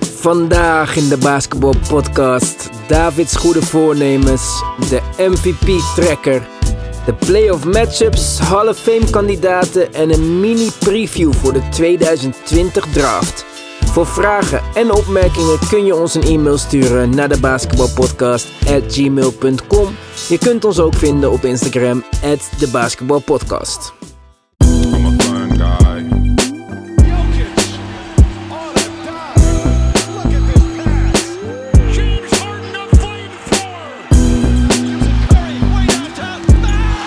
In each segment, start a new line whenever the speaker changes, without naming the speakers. Vandaag in de Basketbal Podcast Davids goede voornemens, de MVP-tracker, de playoff matchups, Hall of Fame kandidaten en een mini-preview voor de 2020 draft. Voor vragen en opmerkingen kun je ons een e-mail sturen naar de basketbalpodcast at gmail.com. Je kunt ons ook vinden op Instagram at de basketbalpodcast.
I'm a fun guy.
Jokic on a dive. Look at this pass. James Harden a flamethrower. Curry way on top. Bang!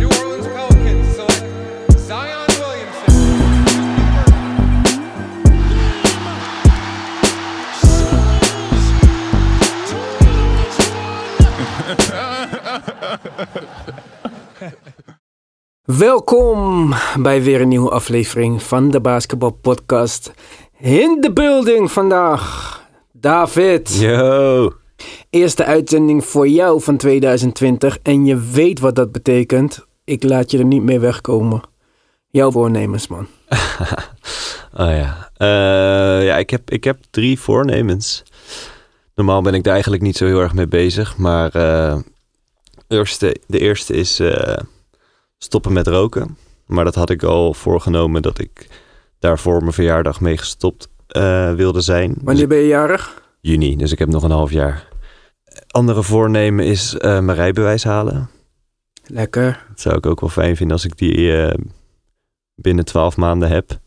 The
Oh, what a shot from Curry!
New Orleans Pelicans select Zion Williamson.
Welkom bij weer een nieuwe aflevering van de Basketbal Podcast. In de building vandaag, David.
Yo.
Eerste uitzending voor jou van 2020 en je weet wat dat betekent. Ik laat je er niet mee wegkomen. Jouw voornemens, man.
Oh ja. Eh, ja, ik heb, ik heb drie voornemens. Normaal ben ik daar eigenlijk niet zo heel erg mee bezig. Maar eh, eerste, de eerste is eh, stoppen met roken. Maar dat had ik al voorgenomen dat ik daar voor mijn verjaardag mee gestopt eh, wilde zijn. Dus
Wanneer ben je jarig?
juni, dus ik heb nog een half jaar. Andere voornemen is eh, mijn rijbewijs halen.
Lekker.
Dat zou ik ook wel fijn vinden als ik die eh, binnen twaalf maanden heb.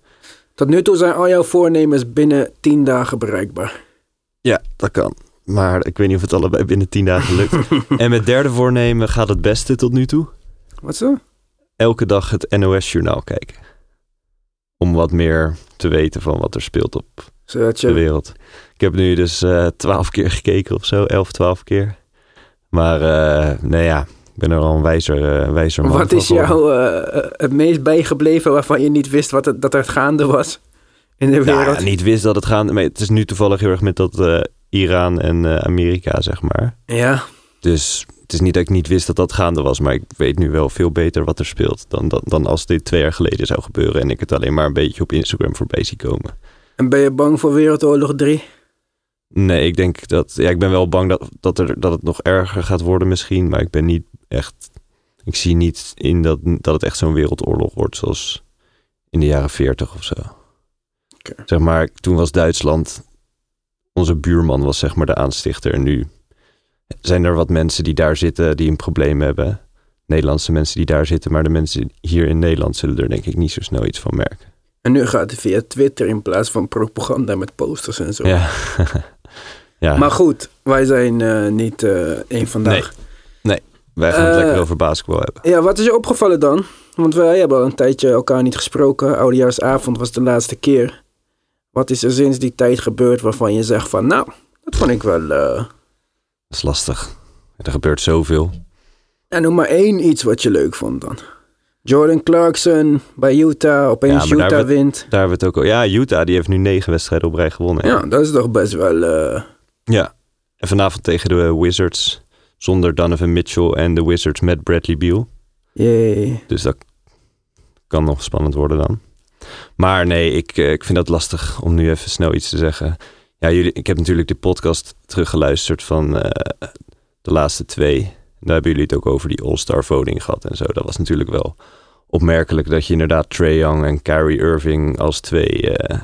Tot nu toe zijn al jouw voornemens binnen 10 dagen bereikbaar.
Ja, dat kan. Maar ik weet niet of het allebei binnen tien dagen lukt. en met derde voornemen gaat het beste tot nu toe.
Wat zo?
Elke dag het NOS-journaal kijken. Om wat meer te weten van wat er speelt op
Zodat
de
je...
wereld. Ik heb nu dus twaalf keer gekeken of zo. Elf, twaalf keer. Maar eh nou ja, ik ben er al een wijzer, eh, wijzer man
Wat
van
is
geworden.
jou eh, eh, het meest bijgebleven waarvan je niet wist wat het, dat er gaande was in de
Nou
wereld?
ja, niet wist dat het gaande... Maar het is nu toevallig heel erg met dat eh, Iran en eh, Amerika, zeg maar.
Ja,
Dus het is niet dat ik niet wist dat dat gaande was, maar ik weet nu wel veel beter wat er speelt dan, dan, dan als dit twee jaar geleden zou gebeuren en ik het alleen maar een beetje op Instagram voorbij zie komen.
en ben je bang voor Wereldoorlog 3?
Nee, ik denk dat. Ja, ik ben wel bang dat, dat, er, dat het nog erger gaat worden misschien, maar ik ben niet echt. Ik zie niet in dat, dat het echt zo'n wereldoorlog wordt zoals in de jaren 40 of zo.
Oké.
Zeg maar, toen was Duitsland. Onze buurman was zeg maar de aanstichter. En nu zijn er wat mensen die daar zitten die een probleem hebben. Nederlandse mensen die daar zitten. Maar de mensen hier in Nederland zullen er denk ik niet zo snel iets van merken.
En nu gaat het via Twitter in plaats van propaganda met posters en zo.
Ja. ja.
Maar goed, wij zijn eh, niet eh één vandaag.
Wij gaan het
eh,
lekker over basketbal hebben.
Ja, wat is je opgevallen dan? Want wij hebben al een tijdje elkaar niet gesproken. Oudejaarsavond was de laatste keer. Wat is er sinds die tijd gebeurd waarvan je zegt van... Nou, dat vond ik wel... eh
Dat is lastig. Er gebeurt zoveel.
En noem maar één iets wat je leuk vond dan. Jordan Clarkson bij Utah. Opeens
Ja, maar daar
Utah
hebben
wint.
Daar hebben we het ook al. Ja, Utah die heeft nu negen wedstrijden op rij gewonnen. hè?
Ja, dat is toch best wel... eh,
ja. En vanavond tegen de Wizards zonder Donovan Mitchell en de Wizards met Bradley Beal.
jee.
Dus dat kan nog spannend worden dan. Maar nee, ik, eh, ik vind dat lastig om nu even snel iets te zeggen. Ja, jullie, ik heb natuurlijk de podcast teruggeluisterd van eh, de laatste twee. Daar hebben jullie het ook over die All-Star voting gehad en zo. Dat was natuurlijk wel opmerkelijk dat je inderdaad Trae Young en Kyrie Irving als twee eh,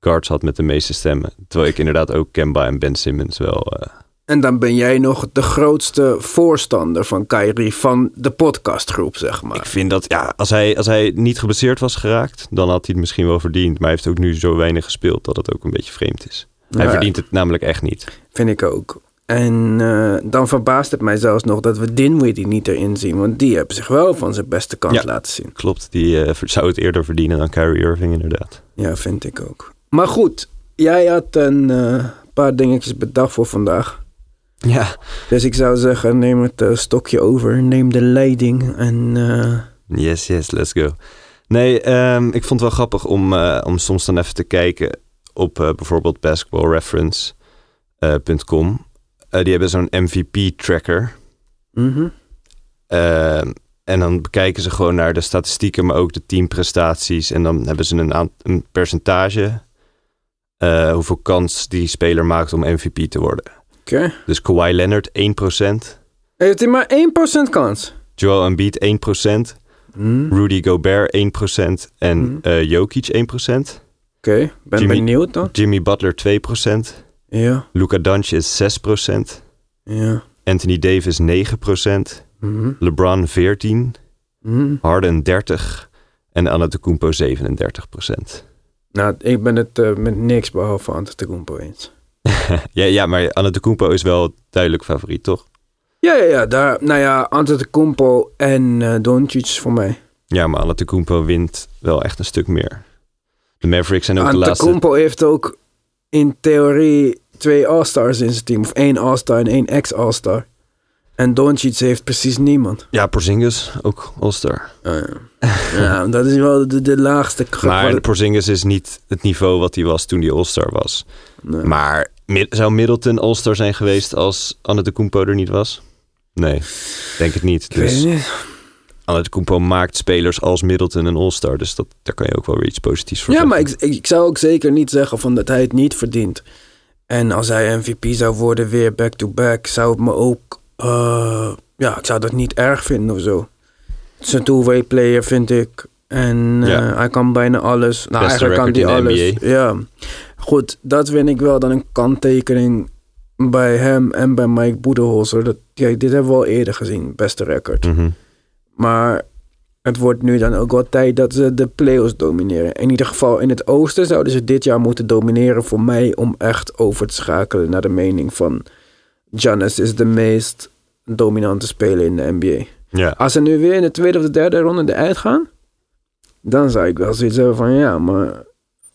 guards had met de meeste stemmen. Terwijl ik inderdaad ook Kemba en Ben Simmons wel... eh,
En dan ben jij nog de grootste voorstander van Kyrie van de podcastgroep, zeg maar.
Ik vind dat, ja, als hij, als hij niet geblesseerd was geraakt, dan had hij het misschien wel verdiend. Maar hij heeft ook nu zo weinig gespeeld dat het ook een beetje vreemd is. Hij
Ja.
verdient het namelijk echt niet.
Vind ik ook. En eh, dan verbaast het mij zelfs nog dat we Dinwiddie niet erin zien. Want die heeft zich wel van zijn beste kant
Ja.
laten zien.
Klopt, die eh, ver- zou het eerder verdienen dan Kyrie Irving inderdaad.
Ja, vind ik ook. Maar goed, jij had een eh, paar dingetjes bedacht voor vandaag.
Ja.
Dus ik zou zeggen, neem het eh, stokje over. Neem de leiding. En eh,
Yes, yes, let's go. Nee, ehm, ik vond het wel grappig om, eh, om soms dan even te kijken op eh, bijvoorbeeld basketballreference.com. Eh, die hebben zo'n MVP-tracker.
mhm.
Ehm, En dan bekijken ze gewoon naar de statistieken, maar ook de teamprestaties. En dan hebben ze een, aant- een percentage. eh, hoeveel kans die speler maakt om MVP te worden.
Oké.
Dus Kawhi Leonard 1%.
Heeft hij maar 1% kans?
Joel Embiid 1%.
Hmm,
Rudy Gobert 1%. En
Mhm.
eh, Jokic 1%.
Oké, ben
Jimmy-
benieuwd dan.
Jimmy Butler 2%.
Ja,
Luka Doncic 6%.
ja.
Anthony Davis 9%.
Mhm,
LeBron 14%.
mhm.
Harden 30%. En Antetokounmpo 37%.
Nou, ik ben het eh, met niks behalve Antetokounmpo eens.
Ja, ja maar Antetokounmpo is wel duidelijk favoriet, toch?
Ja, ja, ja. Daar, nou ja, Antetokounmpo en eh Doncic voor mij.
Ja, maar Antetokounmpo wint wel echt een stuk meer. De Mavericks zijn ook de laatste...
Antetokounmpo heeft ook in theorie twee All-Stars in zijn team. Of één All-Star en één ex-All-Star. En Doncic heeft precies niemand.
Ja, Porzingis, ook All-Star.
Eh, ja, dat is wel de, de laagste
Maar
kracht.
Porzingis is niet het niveau wat hij was toen hij All-Star was.
Nee.
Maar Mi- zou Middleton All-Star zijn geweest als Antetokounmpo er niet was? Nee, denk het niet.
Ik weet het
Dus
niet.
Antetokounmpo maakt spelers als Middleton een All-Star. Dus dat, daar kan je ook wel weer iets positiefs voor
Ja,
zeggen.
maar ik, ik, ik zou ook zeker niet zeggen van dat hij het niet verdient. En als hij MVP zou worden, weer back-to-back, zou het me ook... eh, ja, ik zou dat niet erg vinden of zo. Het is een two-way player, vind ik. En eh,
Ja.
hij kan bijna alles. Nou,
Beste
eigenlijk kan
record
hij
in de
alles.
NBA.
Ja. Goed, dat vind ik wel dan een kanttekening bij hem en bij Mike Boedeholzer. Dat, kijk, dit hebben we al eerder gezien, beste record.
Mhm.
Maar het wordt nu dan ook wel tijd dat ze de play-offs domineren. In ieder geval in het oosten zouden ze dit jaar moeten domineren voor mij... om echt over te schakelen naar de mening van... Giannis is de meest dominante speler in de NBA.
Ja,
Als ze nu weer in de tweede of de derde ronde eruit gaan... dan zou ik wel zoiets hebben van ja, maar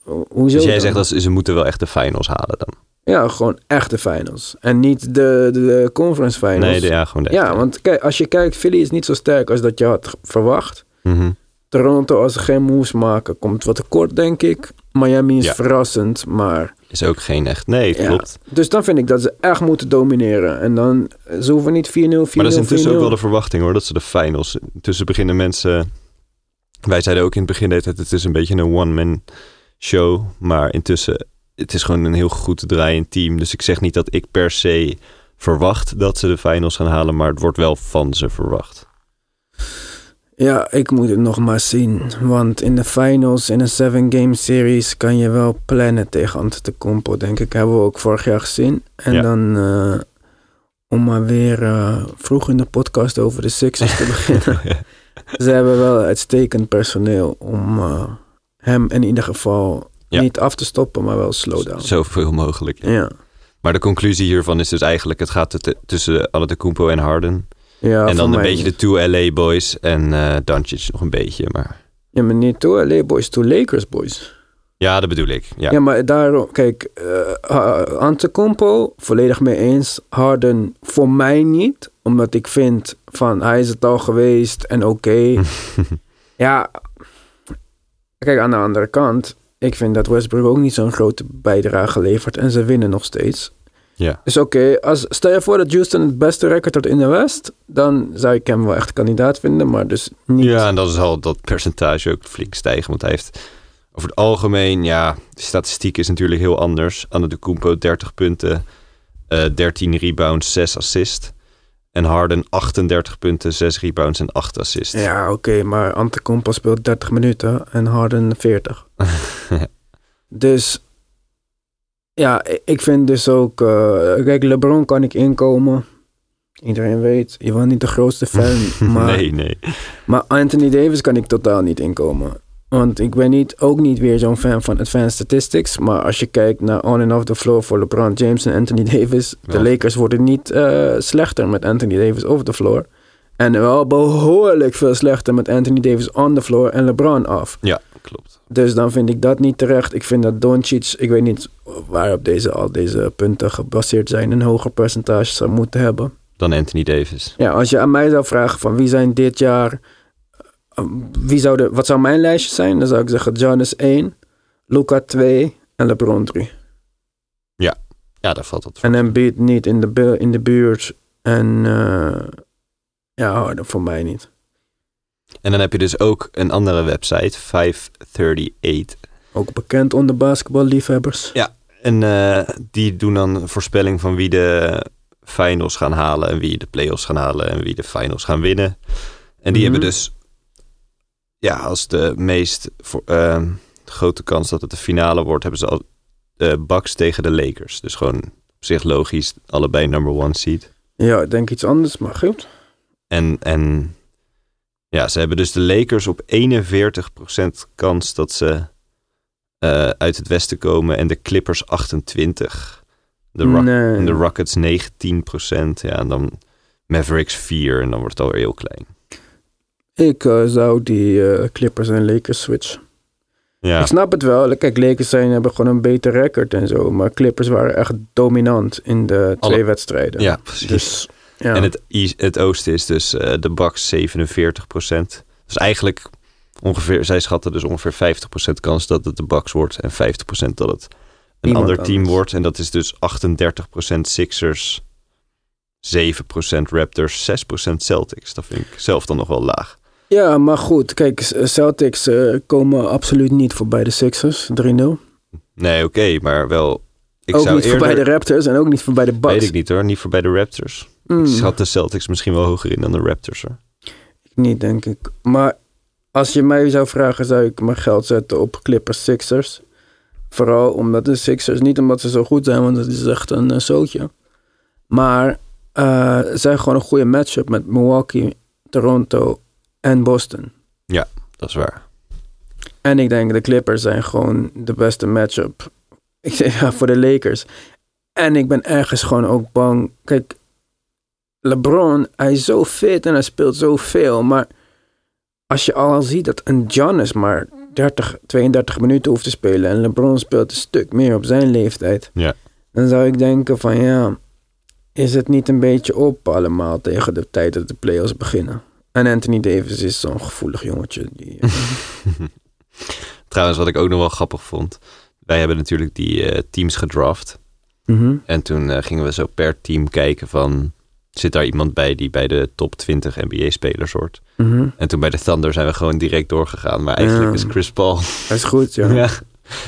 ho- hoezo
dus jij
dan?
zegt dat ze ze moeten wel echt de finals halen dan?
Ja, gewoon echte finals. En niet de, de, de conference finals.
Nee, de- ja, gewoon de
Ja,
echte.
want kijk, als je kijkt, Philly is niet zo sterk als dat je had verwacht.
Mhm.
Toronto, als ze geen moves maken, komt wat tekort, denk ik. Miami is
Ja.
verrassend, maar...
Is ook geen echt... Nee,
Ja.
klopt.
Dus dan vind ik dat ze echt moeten domineren. En dan, eh, ze hoeven niet 4-0, 4-0, 4-0.
Maar dat is intussen ook wel de verwachting hoor, dat ze de finals. Intussen beginnen mensen. Wij zeiden ook in het begin dat het is een beetje een one-man show. Maar intussen, het is gewoon een heel goed draaiend team. Dus ik zeg niet dat ik per se verwacht dat ze de finals gaan halen. Maar het wordt wel van ze verwacht.
Ja, ik moet het nog maar zien. Want in de finals, in een seven game series, kan je wel plannen tegen Antetokounmpo, denk ik. Hebben we ook vorig jaar gezien. En
Ja.
dan, eh, om maar weer eh, vroeg in de podcast over de Sixers te beginnen. Ze hebben wel uitstekend personeel om eh, hem in ieder geval
Ja.
niet af te stoppen, maar wel slow down.
Zoveel mogelijk.
Oh, Ja,
Maar de conclusie hiervan is dus eigenlijk: het gaat t- tussen Antetokounmpo en Harden.
ja
en
voor
dan een
Ah, mij
beetje de two LA boys en eh Doncic nog een beetje. Maar
Ja, maar niet toe LA boys, toe Lakers boys.
ja, dat bedoel ik. Ja.
Ja, maar daarom, kijk, eh Antetokounmpo, volledig mee eens. Harden voor mij niet, omdat ik vind van hij is het al geweest en oké.
Hm.
ja, kijk, aan de andere kant, ik vind dat Westbrook ook niet zo'n grote bijdrage levert en ze winnen nog steeds.
ja.
Dus oké, als- stel je voor dat Houston het beste record had in de West, dan zou ik hem wel echt kandidaat vinden, maar dus niet.
Ja, en dan zal dat percentage ook flink stijgen. Want hij heeft over het algemeen, ja, de statistiek is natuurlijk heel anders. Anne de Kumpo 30 punten, eh 13 rebounds, 6 assist. En Harden 38 punten, 6 rebounds en 8 assist.
Ja, oké, maar Antetokounmpo speelt 30 minuten en Harden 40. dus ja, i- ik vind dus ook... eh, kijk, LeBron kan ik inkomen. Iedereen weet, je was niet de grootste fan. Maar,
nee, nee.
maar Anthony Davis kan ik totaal niet inkomen. Want ik ben niet, ook niet weer zo'n fan van advanced statistics. Maar als je kijkt naar on en off the floor voor LeBron James en Anthony Davis. De
Ja.
Lakers worden niet eh, slechter met Anthony Davis off the floor. En wel behoorlijk veel slechter met Anthony Davis on the floor en LeBron af.
Ja, klopt.
Dus dan vind ik dat niet terecht. Ik vind dat Doncic, ik weet niet waarop deze, al deze punten gebaseerd zijn, een hoger percentage zou moeten hebben.
Dan Anthony Davis.
Ja, als je aan mij zou vragen van wie zijn dit jaar, eh, wie zou de, wat zou mijn lijstje zijn? Dan zou ik zeggen Giannis 1, Luca 2 en LeBron 3.
Ja, daar valt dat voor.
En Embiid niet in de, bu- in de buurt en eh, ja, Harden voor oh, mij niet.
En dan heb je dus ook een andere website, 538.
Ook bekend onder basketballiefhebbers.
En eh, die doen dan een voorspelling van wie de finals gaan halen en wie de playoffs gaan halen en wie de finals gaan winnen. En die
Mhm.
hebben dus, ja, als de meest voor, ehm, grote kans dat het de finale wordt, hebben ze al eh Bucks tegen de Lakers. Dus gewoon op zich logisch, allebei number one seed.
Ja, ik denk iets anders, maar goed.
En, en ja, ze hebben dus de Lakers op 41% kans dat ze eh, uit het westen komen. En de Clippers 28%. De, Rock-
Nee.
en de Rockets 19%. Ja, en dan Mavericks 4. En dan wordt het alweer heel klein.
Ik eh, zou die eh, Clippers en Lakers switch.
Ja,
Ik snap het wel. Kijk, Lakers zijn, hebben gewoon een beter record en zo. Maar Clippers waren echt dominant in de
Alle-
twee wedstrijden.
ja precies.
Dus, ja.
En het, i- het oosten is dus eh, de Bucks 47%. Dus eigenlijk ongeveer, zij schatten dus ongeveer 50% kans dat het de Bucks wordt en 50% dat het een
Iemand
ander team
anders.
wordt. En dat is dus 38% Sixers, 7% Raptors, 6% Celtics. Dat vind ik zelf dan nog wel laag.
ja, maar goed. Kijk, Celtics eh, komen absoluut niet voorbij de Sixers. 3-0.
Nee, oké, maar wel. Ik
ook niet
zou
voorbij de
eerder,
Raptors en ook niet voorbij de Bucks.
Weet ik niet hoor, niet voor bij de Raptors.
Mm,
Ik schat de Celtics misschien wel hoger in dan de Raptors hoor.
niet, denk ik. Maar als je mij zou vragen, zou ik mijn geld zetten op Clippers Sixers. Vooral omdat de Sixers, niet omdat ze zo goed zijn, want het is echt een eh, zootje. Maar eh, ze zijn gewoon een goede matchup met Milwaukee, Toronto en Boston.
Dat is waar.
En ik denk de Clippers zijn gewoon de beste matchup. Ik zeg ja, voor de Lakers. En ik ben ergens gewoon ook bang. Kijk, LeBron, hij is zo fit en hij speelt zoveel. Maar als je al ziet dat een Giannis maar 30, 32 minuten hoeft te spelen. En LeBron speelt een stuk meer op zijn leeftijd.
Ja.
Dan zou ik denken van ja, is het niet een beetje op allemaal tegen de tijd dat de playoffs beginnen? En Anthony Davis is zo'n gevoelig jongetje. Die, eh,
Trouwens, wat ik ook nog wel grappig vond. Wij hebben natuurlijk die eh, teams gedraft.
mhm.
En toen eh, gingen we zo per team kijken van... Zit daar iemand bij die bij de top 20 NBA-spelers hoort?
Mhm.
En toen bij de Thunder zijn we gewoon direct doorgegaan. Maar eigenlijk
Ja.
is Chris Paul...
Dat is goed, ja.
Ja.
ja.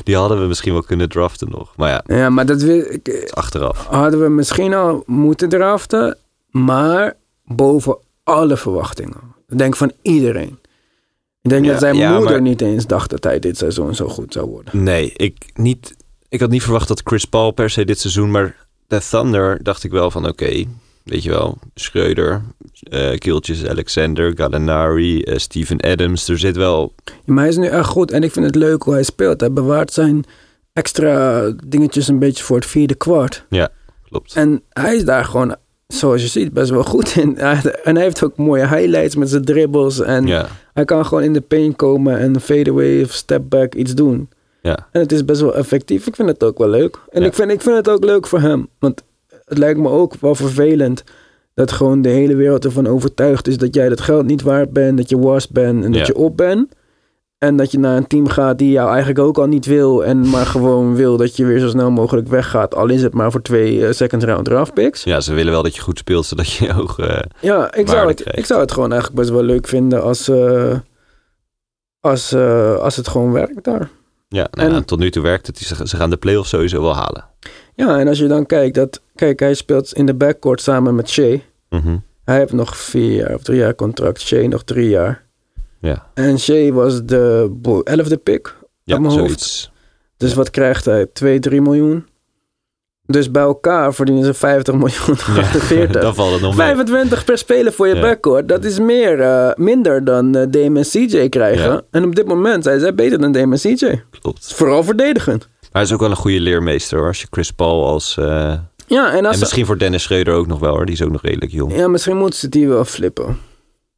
die hadden we misschien wel kunnen draften nog. Maar ja,
maar dat we- ik-
achteraf.
hadden we misschien al moeten draften, maar boven alle verwachtingen. Ik denk van iedereen. Ik denk
Ja,
dat zijn
ja,
moeder
maar-
niet eens dacht dat hij dit seizoen zo goed zou worden.
Nee, ik, niet, ik had niet verwacht dat Chris Paul per se dit seizoen... Maar de Thunder dacht ik wel van oké... weet je wel, Schreuder, eh Kieltjes, Alexander, Gallinari, eh, Steven Adams. Er zit wel
Ja, maar hij is nu echt goed en ik vind het leuk hoe hij speelt. Hij bewaart zijn extra dingetjes een beetje voor het vierde kwart.
Klopt.
En hij is daar gewoon, zoals je ziet, best wel goed in. En hij heeft ook mooie highlights met zijn dribbles. En
ja,
hij kan gewoon in de paint komen en een fadeaway of step back iets doen.
ja,
En het is best wel effectief. Ik vind het ook wel leuk. En
Ja.
ik, vind, ik vind het ook leuk voor hem. Want het lijkt me ook wel vervelend dat gewoon de hele wereld ervan overtuigd is dat jij dat geld niet waard bent, dat je was bent en dat
Ja.
je op bent. En dat je naar een team gaat die jou eigenlijk ook al niet wil. En maar gewoon wil dat je weer zo snel mogelijk weggaat. Al is het maar voor twee eh, second round draft picks.
ja, ze willen wel dat je goed speelt, zodat je hoog... eh,
Ja, ik zou,
waarde
het,
krijgt.
ik zou het gewoon eigenlijk best wel leuk vinden als, eh, als, eh, als het gewoon werkt daar.
ja, nou,
En-
ja, tot nu toe werkt het. Ze, ze gaan de play-offs sowieso wel halen.
Ja, en als je dan kijkt dat... Kijk, hij speelt in de backcourt samen met Shea.
Mhm.
Hij heeft nog vier jaar of drie jaar contract. Shea nog drie jaar.
Ja,
En Shea was de bo- elfde pick. Uit
ja
mijn hoofd.
zoiets.
Dus
Ja.
wat krijgt hij? 2, 3 miljoen. Dus bij elkaar verdienen ze 50 miljoen.
Ja,
48.
dan valt het nog mee.
25 per speler voor je
Ja.
backcourt. Dat is meer, eh, minder dan eh Dame en CJ krijgen.
Ja.
En op dit moment zijn zij beter dan Dame en CJ.
Klopt.
Vooral verdedigend.
Maar hij is ook wel een goede leermeester, hoor. Als je Chris Paul als... eh,
Ja, en als...
en
ze-
misschien voor Dennis Schreuder ook nog wel, hoor. Die is ook nog redelijk jong. Ja,
ja, misschien moeten ze die wel flippen.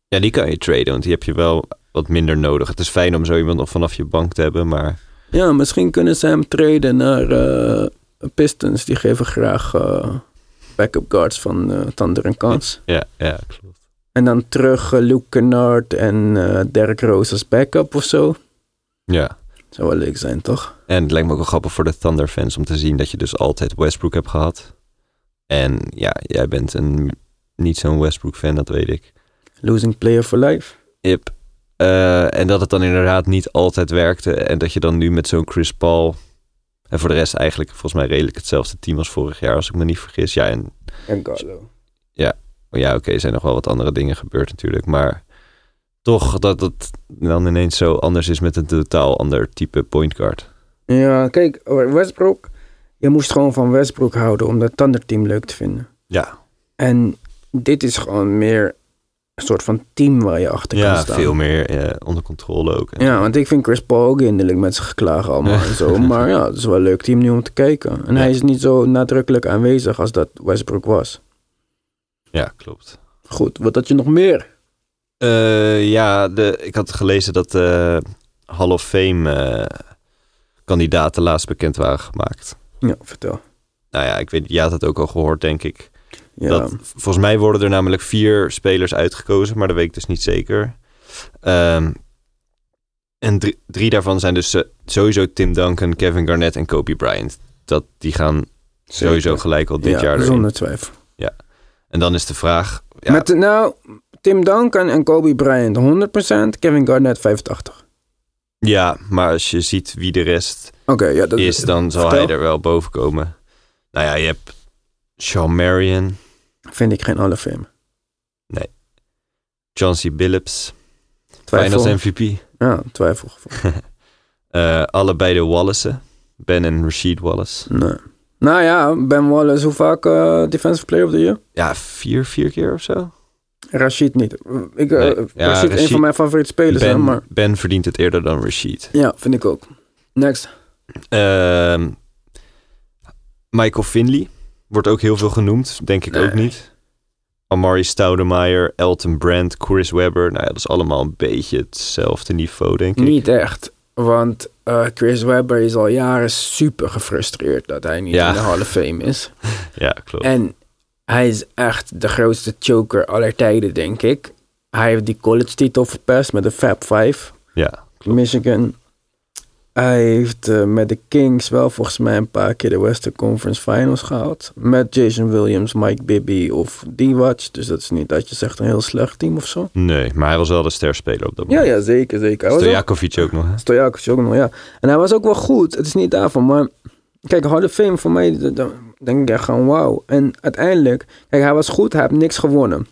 die kan je traden, want die heb je wel wat minder nodig. Het is fijn om zo iemand nog vanaf je bank te hebben, maar...
Ja, misschien kunnen ze hem traden naar eh, Pistons. Die geven graag eh, backup guards van eh Thunder en Kans.
Ja, ja, klopt.
En dan terug eh, Luke Kennard en eh Derek Rose als backup of zo.
Ja.
Zou wel leuk zijn, toch?
En het lijkt me ook wel grappig voor de Thunder fans om te zien dat je dus altijd Westbrook hebt gehad. En ja, jij bent een, niet zo'n Westbrook fan, dat weet ik.
Losing player for life.
Yep. Eh, en dat het dan inderdaad niet altijd werkte. En dat je dan nu met zo'n Chris Paul. En voor de rest eigenlijk volgens mij redelijk hetzelfde team als vorig jaar, als ik me niet vergis. Ja, en
En Carlo.
ja, oké, er zijn nog wel wat andere dingen gebeurd natuurlijk. Maar toch dat het dan ineens zo anders is met een totaal ander type point guard.
Ja, kijk, oh, Westbrook. Je moest gewoon van Westbrook houden om dat Thunder team leuk te vinden.
Ja,
En dit is gewoon meer een soort van team waar je achter
ja
kan staan.
veel meer eh, onder controle ook. En
Ja, want ik vind Chris Paul ook hinderlijk met zijn geklaag allemaal en zo. Maar ja, het is wel een leuk team nu om te kijken. En
Ja.
hij is niet zo nadrukkelijk aanwezig als dat Westbrook was.
ja klopt.
Goed, wat had je nog meer?
Eh, ja, de, ik had gelezen dat eh Hall of Fame eh, kandidaten laatst bekend waren gemaakt.
Ja, vertel.
Nou ja, ik weet, jij had het ook al gehoord, denk ik.
Ja,
Dat, volgens mij worden er namelijk vier spelers uitgekozen, maar dat weet ik dus niet zeker. Ehm, en drie, drie daarvan zijn dus eh, sowieso Tim Duncan, Kevin Garnett en Kobe Bryant. Dat, die gaan sowieso gelijk al dit
ja,
jaar erin.
zonder twijfel.
En dan is de vraag... Ja,
Met, nou, Tim Duncan en Kobe Bryant 100%, Kevin Garnett 85.
ja, maar als je ziet wie de rest
Oké, ja, dat
is, dan zal
Eh, vertel.
hij er wel boven komen. Nou ja, je hebt Sean Marion,
vind ik geen alle fame.
Chauncey Billups,
Twijfel.
Finals MVP.
Ja, twijfel.
Eh, allebei de Wallace'en, Ben en Rashid Wallace.
Nee. Nou ja, Ben Wallace, hoe vaak eh, Defensive Player of the Year?
Ja, vier, vier keer of zo.
Rashid niet. Ik, eh,
Nee, ja,
Rashid, een
Rashid-
van mijn favoriete spelers, hè,
Ben,
maar...
ben verdient het eerder dan Rashid.
Ja, vind ik ook. Next.
Ehm, Michael Finley wordt ook heel veel genoemd, denk ik
Nee.
ook niet. Amari Stoudemire, Elton Brand, Chris Webber. Nou ja, dat is allemaal een beetje hetzelfde niveau, denk ik.
Niet echt. Want eh, Chris Webber is al jaren super gefrustreerd dat hij niet
Ja.
in de Hall of Fame is.
Ja, klopt.
En hij is echt de grootste choker aller tijden, denk ik. Hij heeft die college titel verpest met de Fab Five,
Ja,
Michigan. Hij heeft eh, met de Kings wel volgens mij een paar keer de Western Conference Finals gehaald. Met Jason Williams, Mike Bibby of D-Watch. Dus dat is niet dat je zegt een heel slecht team of zo.
nee, maar hij was wel de sterspeler op dat
Ja,
moment.
ja, zeker, zeker. Hij was ook-
Stojakovic ook nog, hè?
Stojakovic ook nog, ja. En hij was ook wel goed. Het is niet daarvan, maar... Kijk, Hall of Fame voor mij, d- dan denk ik echt gewoon wauw. En uiteindelijk... Kijk, hij was goed, hij heeft niks gewonnen.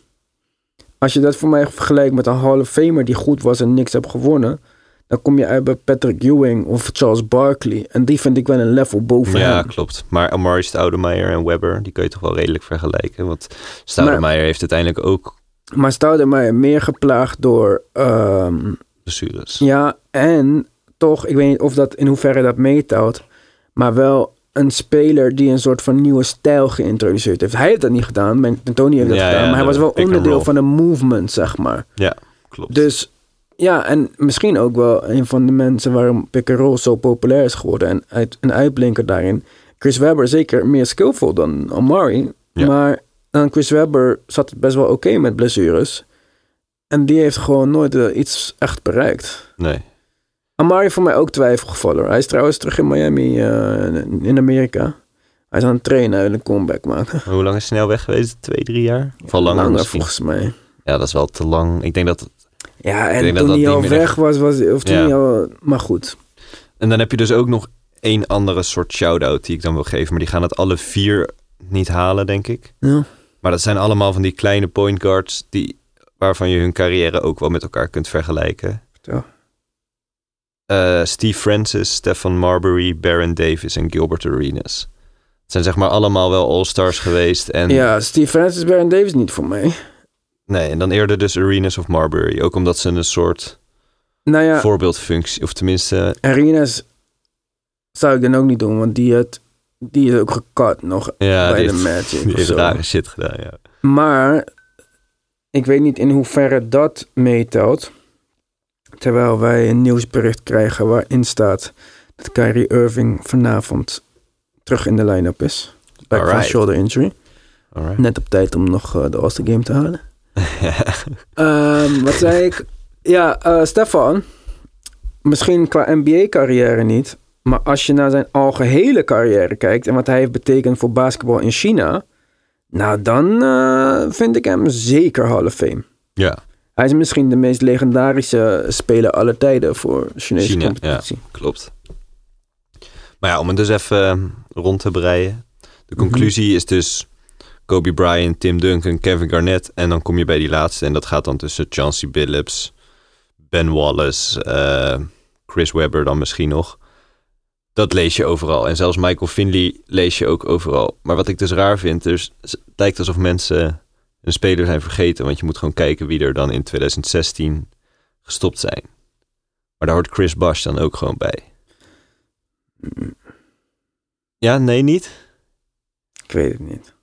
Als je dat voor mij vergelijkt met een Hall of Famer die goed was en niks heeft gewonnen... dan kom je uit bij Patrick Ewing of Charles Barkley. En die vind ik wel een level boven
Ja,
hem.
klopt. Maar Amari Stoudemire en Webber, die kun je toch wel redelijk vergelijken. Want Stoudemire heeft uiteindelijk ook
Maar stelde mij meer geplaagd door... ehm,
blessures.
Ja, en toch, ik weet niet of dat in hoeverre dat meetelt, maar wel een speler die een soort van nieuwe stijl geïntroduceerd heeft. Hij heeft dat niet gedaan, Man- Tony heeft dat
Ja,
gedaan,
ja,
maar hij
de
was wel
pick and
onderdeel
roll.
van een movement, zeg maar.
Ja, klopt.
Dus ja, en misschien ook wel een van de mensen waarom pick and roll zo populair is geworden en uit, een uitblinker daarin. Chris Webber zeker meer skillful dan Amari,
Ja.
maar dan Chris Webber zat het best wel oké met blessures. En die heeft gewoon nooit eh, iets echt bereikt.
nee.
Amari voor mij ook twijfelgevallen. hoor. Hij is trouwens terug in Miami, eh, in Amerika. Hij is aan het trainen en een comeback maken.
Maar hoe lang is hij snel weg geweest? Twee, drie jaar? Of al langer misschien?
volgens mij.
Ja, dat is wel te lang. Ik denk dat...
Ja,
Ik
en
denk dat
toen
dat
hij
niet
al
meer
weg was, was of toen
Ja.
hij al... Maar goed.
En dan heb je dus ook nog één andere soort shout-out die ik dan wil geven. Maar die gaan het alle vier niet halen, denk ik.
Ja.
Maar dat zijn allemaal van die kleine point guards die, waarvan je hun carrière ook wel met elkaar kunt vergelijken.
Vertel.
Eh, Steve Francis, Stefan Marbury, Baron Davis en Gilbert Arenas. Het zijn zeg maar allemaal wel all-stars geweest. En,
Ja, Steve Francis Baron Davis niet voor mij.
nee, en dan eerder dus Arenas of Marbury. Ook omdat ze een soort
Nou ja,
voorbeeldfunctie, of tenminste...
Arenas zou ik dan ook niet doen, want die, had, die is ook gekat nog
Ja,
bij
die
de
heeft-
Magic.
die
of
heeft
zo.
rare shit gedaan, ja.
Maar ik weet niet in hoeverre dat meetelt. Terwijl wij een nieuwsbericht krijgen waarin staat dat Kyrie Irving vanavond terug in de line-up is. Back van
Alright.
shoulder injury.
Alright.
Net op tijd om nog eh, de All-Star Game te halen. Ehm, wat zei ik? Ja, eh, Stefan. Misschien qua NBA-carrière niet. Maar als je naar zijn algehele carrière kijkt. en wat hij heeft betekend voor basketbal in China. Nou, dan eh, vind ik hem zeker Hall of Fame.
ja.
Hij Hij is misschien de meest legendarische speler aller tijden voor de Chinese
China,
competitie.
Klopt. Maar ja, om het dus even eh, rond te breien. De conclusie is dus Kobe Bryant, Tim Duncan, Kevin Garnett. En dan kom je bij die laatste. En dat gaat dan tussen Chauncey Billups, Ben Wallace, eh, Chris Webber dan misschien nog. Dat lees je overal. En zelfs Michael Finley lees je ook overal. Maar wat ik dus raar vind, dus het lijkt alsof mensen een speler zijn vergeten. Want je moet gewoon kijken wie er dan in 2016 gestopt zijn. Maar daar hoort Chris Bosh dan ook gewoon bij.
Mm.
Ja, nee, niet.
Ik weet het niet.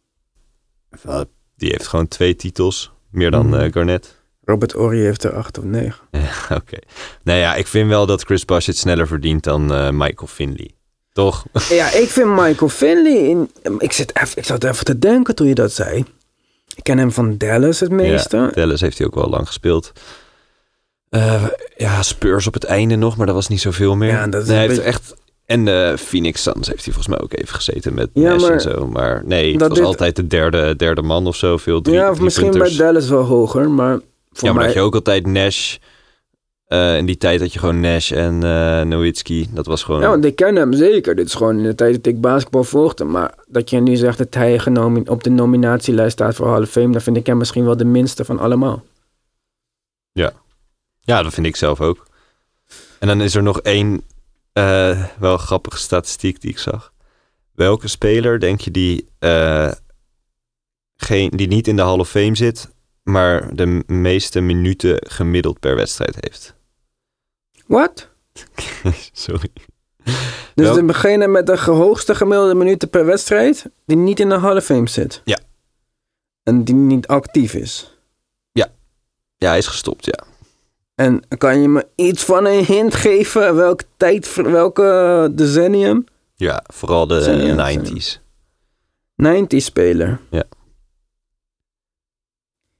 Die heeft gewoon twee titels. Meer
Mm.
dan eh, Garnett.
Robert Ory heeft er acht of negen.
Oké. Nou ja, ik vind wel dat Chris Bosh het sneller verdient dan eh, Michael Finley. Toch?
Ja, ik vind Michael Finley. In, ik, zit even, ik zat even te denken toen je dat zei. Ik ken hem van Dallas het meeste.
Ja, Dallas heeft hij ook wel lang gespeeld. Eh, ja, Spurs op het einde nog, maar dat was niet zoveel meer.
Ja, dat is
nee, hij
een
heeft echt... En eh Phoenix Suns heeft hij volgens mij ook even gezeten met
Ja,
Nash en
maar-
zo. Maar nee, het
dat
was
dit-
altijd de derde, derde man of zo. Veel drie,
ja, of misschien
driepunters.
bij Dallas wel hoger, maar voor
ja, maar
mij...
dat je ook altijd Nash... eh, in die tijd had je gewoon Nash en eh Nowitzki. Dat was gewoon...
Ja, want ik ken hem zeker. Dit is gewoon in de tijd dat ik basketbal volgde. Maar dat je nu zegt dat hij genomi- op de nominatielijst staat voor Hall of Fame... dan vind ik hem misschien wel de minste van allemaal.
Ja, dat vind ik zelf ook. En dan is er nog één eh, wel grappige statistiek die ik zag. Welke speler denk je die, eh, geen, die niet in de Hall of Fame zit, maar de m- meeste minuten gemiddeld per wedstrijd heeft?
Wat?
Sorry.
Dus
Wel-
we beginnen met de hoogste gemiddelde minuten per wedstrijd... die niet in de Hall of Fame zit.
Ja.
En die niet actief is.
Ja, hij is gestopt, ja.
En kan je me iets van een hint geven? Welke tijd, welke decennium?
Ja, vooral de
Zijn die aan het
90s.
90 speler.
Ja.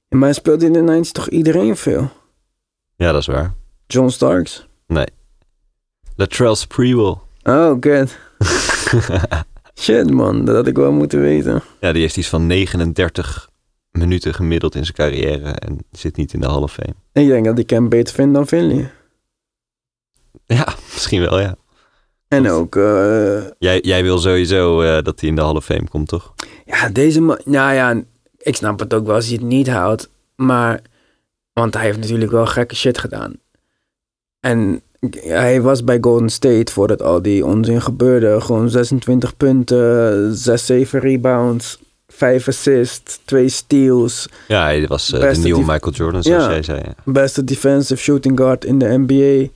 Maar speelt in de 90 toch iedereen veel?
Ja, dat is waar.
John Starks?
Latrell Sprewell.
Oh, good. Shit, man. Dat had ik wel moeten weten.
ja, die heeft iets van 39 minuten gemiddeld in zijn carrière en zit niet in de Hall of Fame.
Ik denk dat ik hem beter vind dan Finley.
Ja, misschien wel, ja.
En
Goed.
ook... eh,
Jij, jij wil sowieso eh, dat hij in de Hall of Fame komt, toch?
ja, deze man... Nou ja, ik snap het ook wel als hij het niet houdt. Maar... Want hij heeft natuurlijk wel gekke shit gedaan. En hij was bij Golden State voordat al die onzin gebeurde. Gewoon 26 punten, 6, 7 rebounds, 5 assists, 2 steals.
Ja, hij was eh, de
Beste
nieuwe
dief-
Michael Jordan, zoals
Ja.
jij zei. ja.
Beste defensive shooting guard in de NBA.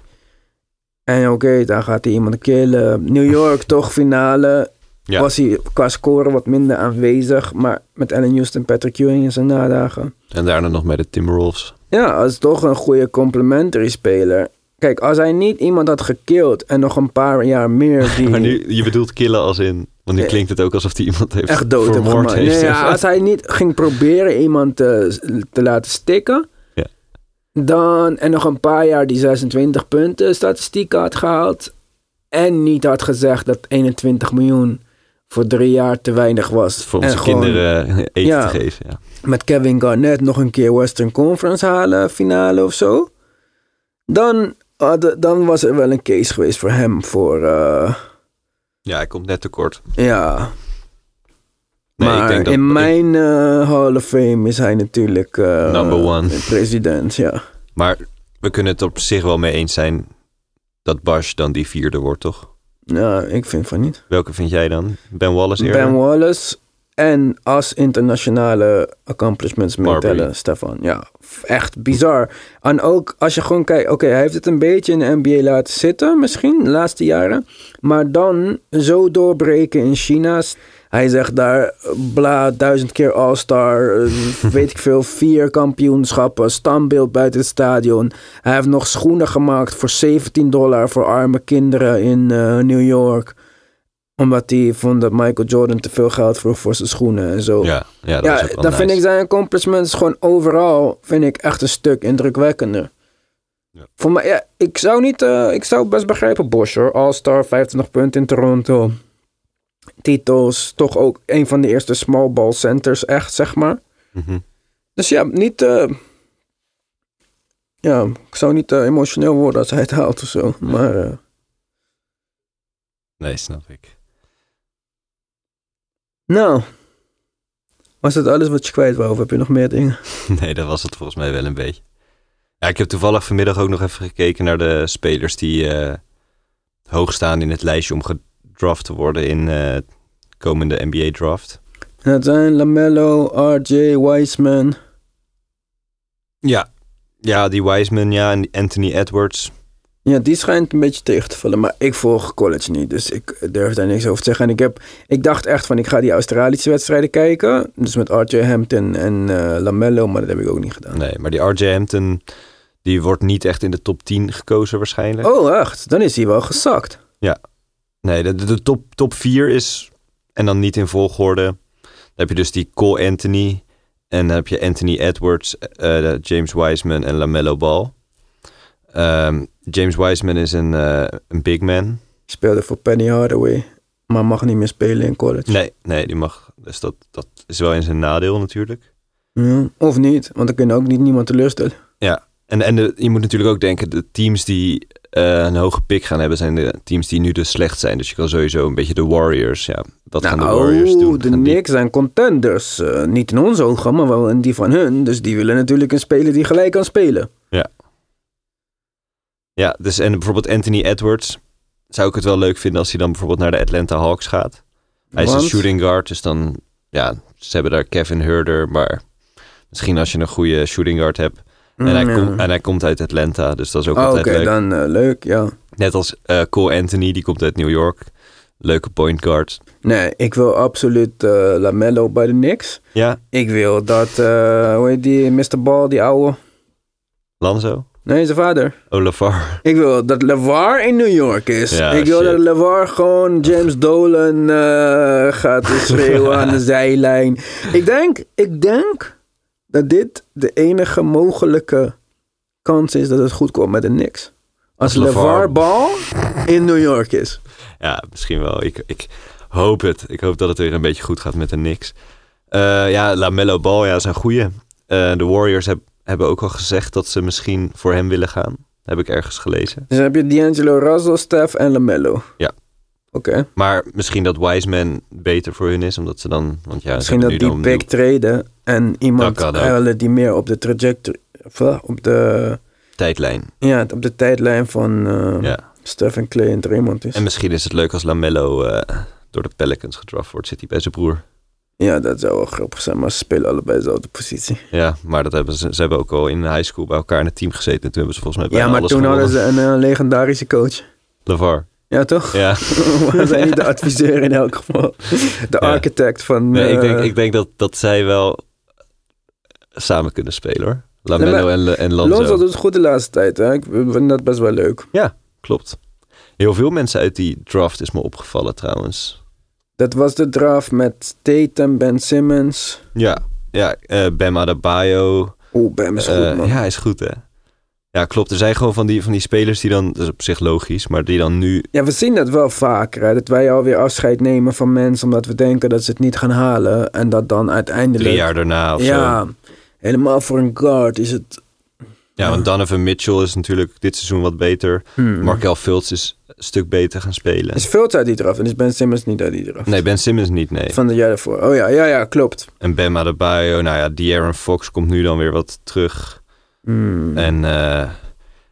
En oké, daar gaat hij iemand killen. New York toch finale.
Ja.
Was hij qua scoren wat minder aanwezig. Maar met Allen Houston, Patrick Ewing in zijn nadagen.
En daarna nog met de Timberwolves.
Ja, dat is toch een goede complimentary speler. Kijk, als hij niet iemand had gekild en nog een paar jaar meer die
Maar nu, je bedoelt killen als in... Want nu
Ja.
klinkt het ook alsof hij iemand heeft
echt dood heeft
vermoord
gemaakt.
heeft.
Nee, ja, als hij niet ging proberen iemand te, te laten stikken,
Ja.
dan en nog een paar jaar die 26 punten statistiek had gehaald en niet had gezegd dat 21 miljoen voor drie jaar te weinig was.
Voor
en
onze
gewoon
kinderen eh, eten
Ja.
te geven, ja.
met Kevin Garnett nog een keer Western Conference halen, finale of zo. Dan, hadden- dan was er wel een case geweest voor hem. Voor, eh,
Ja, hij komt net tekort.
ja.
Nee,
maar
ik denk dat,
in
ik-
mijn eh, Hall of Fame is hij natuurlijk eh,
Number one.
de president. Ja.
maar we kunnen het op zich wel mee eens zijn dat Bash dan die vierde wordt, toch?
ja, ik vind van niet.
Welke vind jij dan? Ben Wallace eerder?
Ben Wallace en als internationale accomplishments
Barbary.
meetellen, Stefan. Ja, f- echt bizar. En ook als je gewoon kijkt, oké, hij heeft het een beetje in de NBA laten zitten misschien, de laatste jaren. Maar dan zo doorbreken in China's. Hij zegt daar, eh, bla, duizend keer All-Star, eh, weet ik veel, vier kampioenschappen, standbeeld buiten het stadion. Hij heeft nog schoenen gemaakt voor 17 dollar voor arme kinderen in eh, New York. Omdat hij vond dat Michael Jordan te veel geld vroeg voor zijn schoenen en zo.
Ja, ja, dat is
Ja,
ook wel
dan vind
nice.
ik zijn accomplishments gewoon overal vind ik echt een stuk indrukwekkender.
Ja.
Voor mij, ja, ik zou niet, eh, ik zou best begrijpen, Bosch hoor. All-Star, 25 punten in Toronto. Titels, toch ook een van de eerste small ball centers, echt zeg maar.
Mhm.
Dus ja, niet, eh, Ja, ik zou niet eh, emotioneel worden als hij het haalt of zo. Maar eh,
Nee, snap ik.
nou, was dat alles wat je kwijt wou? Of heb je nog meer dingen?
Nee, dat was het volgens mij wel een beetje. Ja, ik heb toevallig vanmiddag ook nog even gekeken naar de spelers die eh, hoog staan in het lijstje om gedraft te worden in eh komende NBA draft.
En dat zijn Lamello, RJ, Wiseman.
Ja. Ja, die Wiseman, ja, en die Anthony Edwards.
Ja, die schijnt een beetje tegen te vallen. Maar ik volg college niet, dus ik durf daar niks over te zeggen. En ik, heb, ik dacht echt van, ik ga die Australische wedstrijden kijken. Dus met RJ Hampton en eh, Lamello, maar dat heb ik ook niet gedaan.
Nee, maar die RJ Hampton, die wordt niet echt in de top 10 gekozen waarschijnlijk.
Oh, echt? Dan is hij wel gezakt.
Nee, de, de- de top, top 4 is, en dan niet in volgorde. Dan heb je dus die Cole Anthony. En dan heb je Anthony Edwards, eh, eh, James Wiseman en LaMelo Ball. Ehm, James Wiseman is een, eh, een big man.
Speelde voor Penny Hardaway, maar mag niet meer spelen in college.
Nee, nee, die mag. Dus dat, dat is wel in zijn nadeel natuurlijk.
Ja, of niet, want dan kunnen ook niet niemand teleurstellen.
En, en de- je moet natuurlijk ook denken, de teams die eh, een hoge pick gaan hebben, zijn de teams die nu dus slecht zijn. Dus je kan sowieso een beetje de Warriors, ja. Wat gaan de Warriors
oh,
doen?
de
Gaan die-
Knicks zijn contenders. Eh, niet in onze ogen, maar wel in die van hun. Dus die willen natuurlijk een speler die gelijk kan spelen.
Ja, dus en bijvoorbeeld Anthony Edwards. Zou ik het wel leuk vinden als hij dan bijvoorbeeld naar de Atlanta Hawks gaat. Hij is
Want-
een shooting guard, dus dan... Ja, ze hebben daar Kevin Herder, maar... Misschien als je een goede shooting guard hebt. En, hij,
Mm,
komt
ja.
en hij komt uit Atlanta, dus dat is ook
Ah, Oké,
altijd leuk.
dan eh, leuk, ja.
Net als eh, Cole Anthony, die komt uit New York. Leuke point guard.
Nee, ik wil absoluut eh, Lamello bij de Knicks.
Ja,
Ik wil dat, eh, hoe heet die, Mr. Ball, die oude...
Lanzo,
Nee, zijn vader.
Olafar.
Ik wil dat LeVar in New York is.
Ja,
ik wil
shit.
dat LeVar gewoon James Dolan eh, gaat schreeuwen aan de zijlijn. Ik denk, ik denk dat dit de enige mogelijke kans is dat het goed komt met de Knicks. Als
Als LeVar-
LeVar Ball in New York is.
Ja, misschien wel. Ik, ik hoop het. Ik hoop dat het weer een beetje goed gaat met de Knicks. Eh, ja, LaMelo Ball, ja, is een goeie. Eh, de Warriors heb- hebben ook al gezegd dat ze misschien voor hem willen gaan. Heb ik ergens gelezen.
Dus dan heb je D'Angelo Russell, Steph en LaMelo.
Ja.
Oké.
Maar misschien dat Wiseman beter voor hun is, omdat ze dan... Want ja,
Misschien dat die
big
pick traden en iemand
Dat kan ook.
halen die meer op de trajectory, of, eh, op de,
tijdlijn.
ja, op de tijdlijn van eh
Ja.
Steph en Clay en Draymond is.
En misschien is het leuk als LaMelo eh, door de Pelicans gedraft wordt. Zit hij bij zijn broer.
Ja, dat zou wel grappig zijn, maar ze spelen allebei dezelfde positie.
Ja, maar dat hebben ze, ze hebben ook al in high school bij elkaar in het team gezeten. En toen hebben ze volgens mij
Ja,
bijna
maar
alles
toen hadden
gewonnen.
ze een eh, legendarische coach.
LaVar,
Ja, toch?
ja.
We zijn niet de adviseur in elk geval. De
Ja.
architect van...
Nee, ik denk,
eh,
ik denk dat, dat zij wel samen kunnen spelen hoor. Lamelo
Nee, maar-
en, en Lonzo.
Lonzo doet het goed de laatste tijd. Hè? Ik vind dat best wel leuk.
Ja, klopt. Heel veel mensen uit die draft is me opgevallen trouwens.
Dat was de draft met Tatum, Ben Simmons.
Ja, ja eh Bam Adebayo.
Oeh, Bam is goed,
Eh,
man.
ja, hij is goed hè. Ja, klopt. Er zijn gewoon van die, van die spelers die dan, dat is op zich logisch, maar die dan nu...
Ja, we zien dat wel vaker. Hè? Dat wij alweer afscheid nemen van mensen omdat we denken dat ze het niet gaan halen. En dat dan uiteindelijk...
Drie jaar daarna of zo.
Ja, helemaal voor een guard is het...
Ja, want Donovan Mitchell is natuurlijk dit seizoen wat beter. Markel Fultz is een stuk beter gaan spelen.
Hmm. Is Fultz uit die draft en is Ben Simmons niet uit die draft.
Nee, Ben Simmons niet, nee.
Van de jaar daarvoor. Oh ja, ja, ja, klopt.
En Bam Adebayo, nou ja, De'Aaron Fox komt nu dan weer wat terug.
Hmm.
En, eh,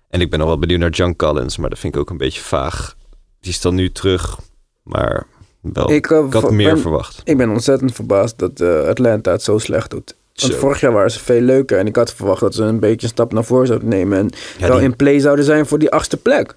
en ik ben nog wel benieuwd naar John Collins, maar dat vind ik ook een beetje vaag. Die is dan nu terug, maar wel,
Ik,
ik,
eh,
had
v-
meer
ben-
verwacht.
Ik ben ontzettend verbaasd dat eh, Atlanta het zo slecht doet. Want
Zo.
vorig jaar waren ze veel leuker en ik had verwacht dat ze een beetje een stap naar voren zouden nemen. En
Ja,
wel
die-
in play zouden zijn voor die achtste plek.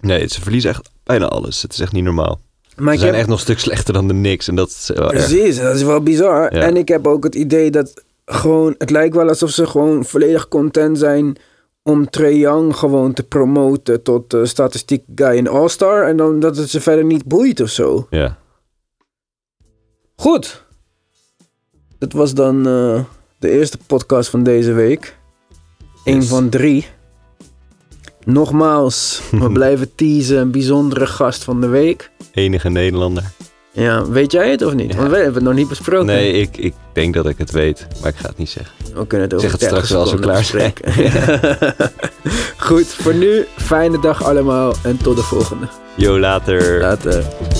Nee, ze verliezen echt bijna alles. Het is echt niet normaal.
Maar
Ze
ik
zijn
heb-
echt nog een stuk slechter dan de Knicks en dat is wel erg.
Precies, dat is wel bizar.
Ja.
En ik heb ook het idee dat gewoon, het lijkt wel alsof ze gewoon volledig content zijn om Trae Young gewoon te promoten tot eh, statistiek guy en all-star. En dan dat het ze verder niet boeit of zo.
Ja.
Goed. Dat was dan eh, de eerste podcast van deze week. Eén
Yes.
van drie. Nogmaals, we blijven teasen. Een bijzondere gast van de week.
Enige Nederlander.
Ja, weet jij het of niet?
Ja.
Want we hebben het nog niet besproken.
Nee, ik, ik denk dat ik het weet, maar ik ga het niet zeggen.
We kunnen het over
Zeg het
30
straks wel als we
seconden
klaar zijn.
bespreken. Goed, voor nu fijne dag allemaal en tot de volgende.
Yo, later.
Later.